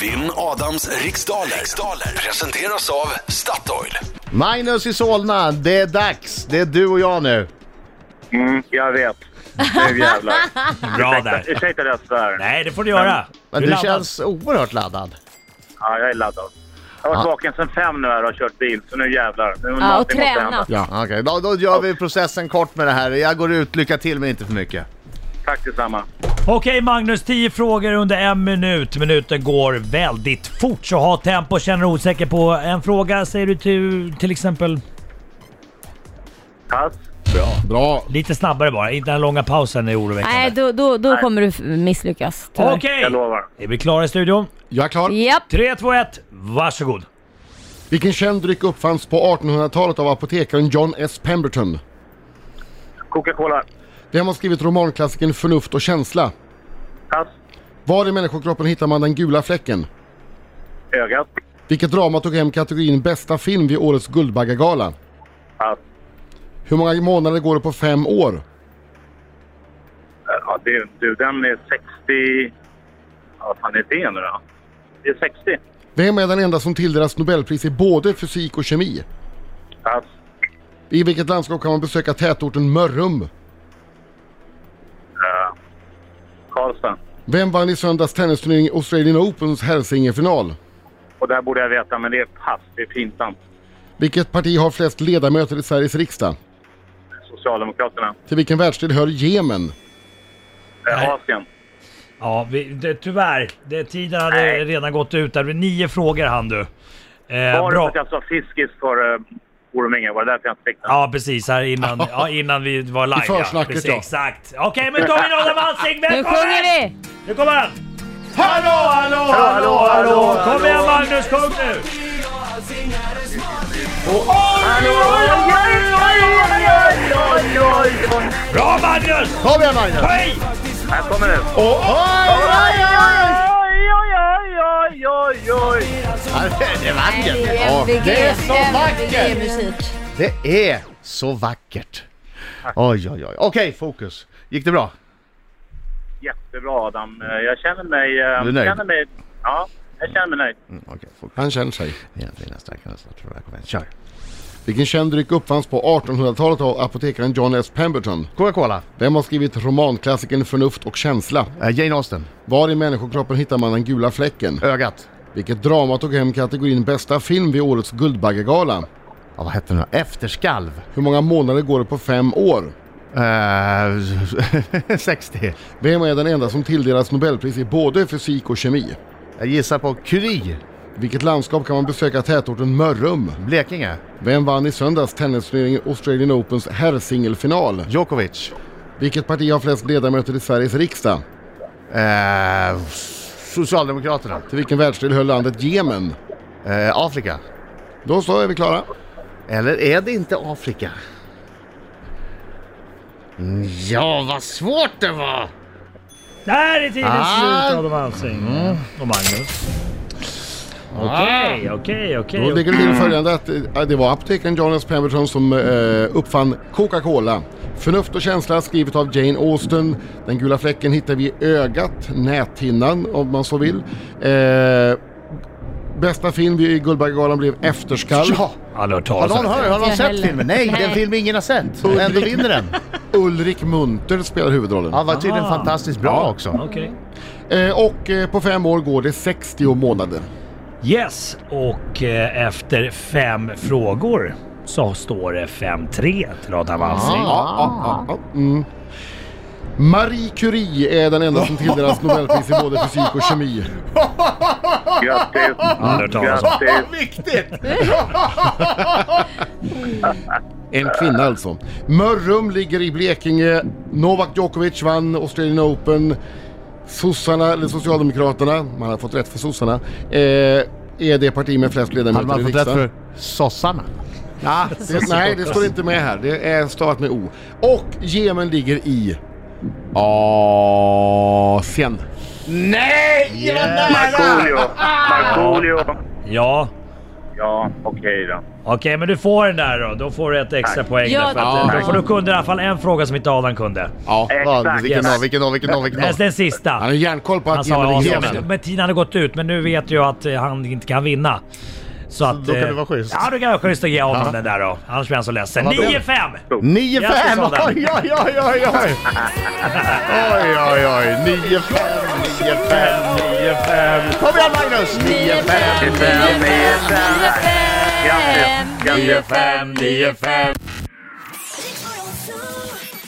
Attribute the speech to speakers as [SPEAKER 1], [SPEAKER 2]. [SPEAKER 1] Vinn Adams riksdaler. riksdaler presenteras av Statoil.
[SPEAKER 2] Magnus i Solna, det är dags. Det är du och jag nu.
[SPEAKER 3] Mm, jag vet. Nu jävlar.
[SPEAKER 4] Bra
[SPEAKER 3] Ursäkta-
[SPEAKER 4] där.
[SPEAKER 3] Ursäkta att jag svär.
[SPEAKER 4] Nej, det får du göra.
[SPEAKER 2] Men
[SPEAKER 4] Du
[SPEAKER 2] du
[SPEAKER 4] laddar.
[SPEAKER 2] känns oerhört laddad.
[SPEAKER 3] Ja, jag är laddad. Jag har varit
[SPEAKER 2] Ja.
[SPEAKER 3] vaken sedan fem nu här och har kört bil, så nu jävlar. Nu
[SPEAKER 5] Ja, och
[SPEAKER 3] det måste hända.
[SPEAKER 5] tränat.
[SPEAKER 2] Ja. Okej, då, då gör vi processen kort med det här. Jag går ut, lycka till men inte för mycket.
[SPEAKER 3] Tack detsamma.
[SPEAKER 4] Okej Magnus, 10 frågor under en minut. Minuten går väldigt fort, så ha tempo. Känner du osäker på en fråga säger du till, till exempel
[SPEAKER 3] Pass.
[SPEAKER 2] Bra.
[SPEAKER 4] lite snabbare bara. Inte den långa pausen är oroväckande.
[SPEAKER 5] Nej, då, då, då kommer du f- misslyckas. tyvärr.
[SPEAKER 4] Okej!
[SPEAKER 3] Jag lovar.
[SPEAKER 4] Är vi klara i studion?
[SPEAKER 6] Jag är klar.
[SPEAKER 5] Japp.
[SPEAKER 4] 3, 2, 1. Varsågod.
[SPEAKER 6] Vilken känd dryck uppfanns på 1800-talet av apotekaren John S. Pemberton?
[SPEAKER 3] Coca-Cola.
[SPEAKER 6] Vem har skrivit romanklassikern Förnuft och känsla?
[SPEAKER 3] Pass.
[SPEAKER 6] Var i människokroppen hittar man den gula fläcken?
[SPEAKER 3] Ögat.
[SPEAKER 6] Vilket drama tog hem kategorin bästa film vid årets Guldbaggegala?
[SPEAKER 3] Pass.
[SPEAKER 6] Hur många månader går det på fem år?
[SPEAKER 3] Ja, det, du, den är 60... Ja, vad fan är det nu då? Det är 60.
[SPEAKER 6] Vem är den enda som tilldelas Nobelpris i både fysik och kemi?
[SPEAKER 3] Pass.
[SPEAKER 6] I vilket landskap kan man besöka tätorten Mörrum?
[SPEAKER 3] Karlstad.
[SPEAKER 6] Vem vann i söndags tennisturnering Australian Opens herrsingelfinal?
[SPEAKER 3] Och där borde jag veta, men det är pass. Det är pinsamt.
[SPEAKER 6] Vilket parti har flest ledamöter i Sveriges riksdag?
[SPEAKER 3] Socialdemokraterna.
[SPEAKER 6] Till vilken världsdel hör Jemen?
[SPEAKER 3] Äh, Asien.
[SPEAKER 4] Ja, vi, det, tyvärr. Det, tiden hade
[SPEAKER 3] Nej.
[SPEAKER 4] redan gått ut. Där. Det var Nio frågor hann du. Eh,
[SPEAKER 3] Var det för
[SPEAKER 4] bra.
[SPEAKER 3] att jag sa fiskis för uh, ormingar? Var det därför jag inte fick den?
[SPEAKER 4] Ja, precis. Här innan, ja, innan vi var live. ja.
[SPEAKER 6] försnacket,
[SPEAKER 4] Precis,
[SPEAKER 6] ja.
[SPEAKER 4] Exakt. Okej, men då har vi Adam Alsing.
[SPEAKER 5] Nu sjunger
[SPEAKER 4] Välkommen!
[SPEAKER 5] vi!
[SPEAKER 4] Nu kommer han! Hallå, hallå, hallå, hallå! Kom igen Magnus, sjung nu! Bra Magnus!
[SPEAKER 2] Kom igen Magnus!
[SPEAKER 4] Höj!
[SPEAKER 3] Här kommer den.
[SPEAKER 2] Ja, det är vackert! Ja,
[SPEAKER 5] MVG,
[SPEAKER 2] det är så vackert!
[SPEAKER 5] MVG-musik.
[SPEAKER 2] Det är så vackert! Oj, oj, oj. Okej, fokus. Gick det bra?
[SPEAKER 3] Jättebra Adam. Eh, Jag känner mig... eh,
[SPEAKER 2] Du är nöjd?
[SPEAKER 3] Känner mig ja, jag känner mig nöjd.
[SPEAKER 2] Mm, Okej, fokus.
[SPEAKER 6] Han känner sig.
[SPEAKER 2] Egentligen nästa vecka, nästa vecka, kom igen. Kör!
[SPEAKER 6] Vilken känd dryck uppfanns på 1800-talet av apotekaren John S. Pemberton?
[SPEAKER 2] Coca-Cola.
[SPEAKER 6] Vem har skrivit romanklassikern Förnuft och känsla?
[SPEAKER 2] Eh, Jane Austen.
[SPEAKER 6] Var i människokroppen hittar man den gula fläcken?
[SPEAKER 2] Ögat.
[SPEAKER 6] Vilket drama tog hem kategorin bästa film vid årets Guldbaggegala?
[SPEAKER 2] Ja, vad hette den då? Efterskalv.
[SPEAKER 6] Hur många månader går det på fem år?
[SPEAKER 2] Eh, 60.
[SPEAKER 6] Vem är den enda som tilldelas Nobelpris i både fysik och kemi?
[SPEAKER 2] Jag gissar på Curie.
[SPEAKER 6] Vilket landskap kan man besöka tätorten Mörrum?
[SPEAKER 2] Blekinge.
[SPEAKER 6] Vem vann i söndags tennisturneringen Australian Opens herrsingelfinal?
[SPEAKER 2] Djokovic.
[SPEAKER 6] Vilket parti har flest ledamöter i Sveriges riksdag?
[SPEAKER 2] Eh, Socialdemokraterna.
[SPEAKER 6] Till vilken världsdel hör landet Jemen?
[SPEAKER 2] Eh, Afrika.
[SPEAKER 6] Då så, är vi klara.
[SPEAKER 2] Eller är det inte Afrika? Mm, Ja, vad svårt det var!
[SPEAKER 4] Där är tiden
[SPEAKER 2] Ah.
[SPEAKER 4] slut Adam Alsing. Mm. Och Magnus. Ah. Okej, okej,
[SPEAKER 6] Då
[SPEAKER 4] okej.
[SPEAKER 6] ligger det till följande att eh, det var apotekaren John S. Pemberton som eh, uppfann Coca-Cola. Förnuft och känsla skrivet av Jane Austen. Den gula fläcken hittar vi i ögat, näthinnan om man så vill. Eh, bästa film i Guldbaggegalan blev Efterskalv.
[SPEAKER 2] Ja.
[SPEAKER 4] Aldrig hört
[SPEAKER 2] Har
[SPEAKER 4] talas
[SPEAKER 2] någon,
[SPEAKER 4] om
[SPEAKER 2] hör, har någon
[SPEAKER 5] Jag
[SPEAKER 2] sett
[SPEAKER 5] heller.
[SPEAKER 2] filmen? Nej, det är en
[SPEAKER 5] Nej.
[SPEAKER 2] film ingen har sett. Och ändå vinner den.
[SPEAKER 6] Ulrik Munter spelar huvudrollen.
[SPEAKER 2] Han var tydligen
[SPEAKER 4] Aha.
[SPEAKER 2] fantastiskt bra också.
[SPEAKER 4] Okej.
[SPEAKER 6] Eh, och eh, på fem år går det 60 månader.
[SPEAKER 4] Yes, och eh, efter fem frågor så står det 5-3 till Adam Alsing.
[SPEAKER 6] Ja, ja, ja. Mm. Marie Curie är den enda som tilldelas Nobelpris i både fysik och kemi.
[SPEAKER 3] Grattis!
[SPEAKER 4] Aldrig hört talas om.
[SPEAKER 3] Grattis!
[SPEAKER 2] Viktigt!
[SPEAKER 6] En kvinna alltså. Mörrum ligger i Blekinge. Novak Djokovic vann Australian Open. Sossarna, eller Socialdemokraterna, man har fått rätt för sossarna, eh, är det parti med flest
[SPEAKER 2] Hade
[SPEAKER 6] ledamöter
[SPEAKER 2] man
[SPEAKER 6] i
[SPEAKER 2] fått rätt
[SPEAKER 6] riksdagen.
[SPEAKER 2] för sossarna?
[SPEAKER 6] Ja, det, nej, det står inte med här. Det är stavat med O. Och Jemen ligger i... Asien.
[SPEAKER 2] Nej!
[SPEAKER 3] Markoolio! Markoolio!
[SPEAKER 4] Ja,
[SPEAKER 3] Ja, okej då.
[SPEAKER 4] Okej, men du får den där då. Då får du ett extra poäng.
[SPEAKER 5] Ja,
[SPEAKER 4] där, för att, eh,
[SPEAKER 6] tack.
[SPEAKER 4] då får du kunde i alla fall en fråga som inte Adam kunde.
[SPEAKER 6] Ja.
[SPEAKER 2] Ja,
[SPEAKER 3] Exakt.
[SPEAKER 2] vilken av, vilken av, vilken av, vilken
[SPEAKER 4] Den,
[SPEAKER 2] av.
[SPEAKER 4] den
[SPEAKER 6] Han
[SPEAKER 4] sista.
[SPEAKER 6] har järnkoll på
[SPEAKER 4] Han
[SPEAKER 6] att ge
[SPEAKER 4] sa
[SPEAKER 6] mig
[SPEAKER 4] ja,
[SPEAKER 6] gemen.
[SPEAKER 4] men, men tiden hade gått ut, men nu vet jag att eh, han inte kan vinna. Så att,
[SPEAKER 2] då kan
[SPEAKER 4] eh,
[SPEAKER 2] det vara schysst.
[SPEAKER 4] Ja, då kan det vara schysst att ge honom
[SPEAKER 2] Ja.
[SPEAKER 4] den där då. Annars blir han så ledsen.
[SPEAKER 2] Ja, vad bra.
[SPEAKER 4] 9-5!
[SPEAKER 2] 9-5!
[SPEAKER 4] Grattis, Adam.
[SPEAKER 2] Oj, oj, oj, oj, oj! Oj, oj, oj! 9-5, 9-5, 9-5. Kom igen Magnus! 9-5!
[SPEAKER 5] 9-5, 9-5, 9-5.
[SPEAKER 7] Riks Morgonzoo.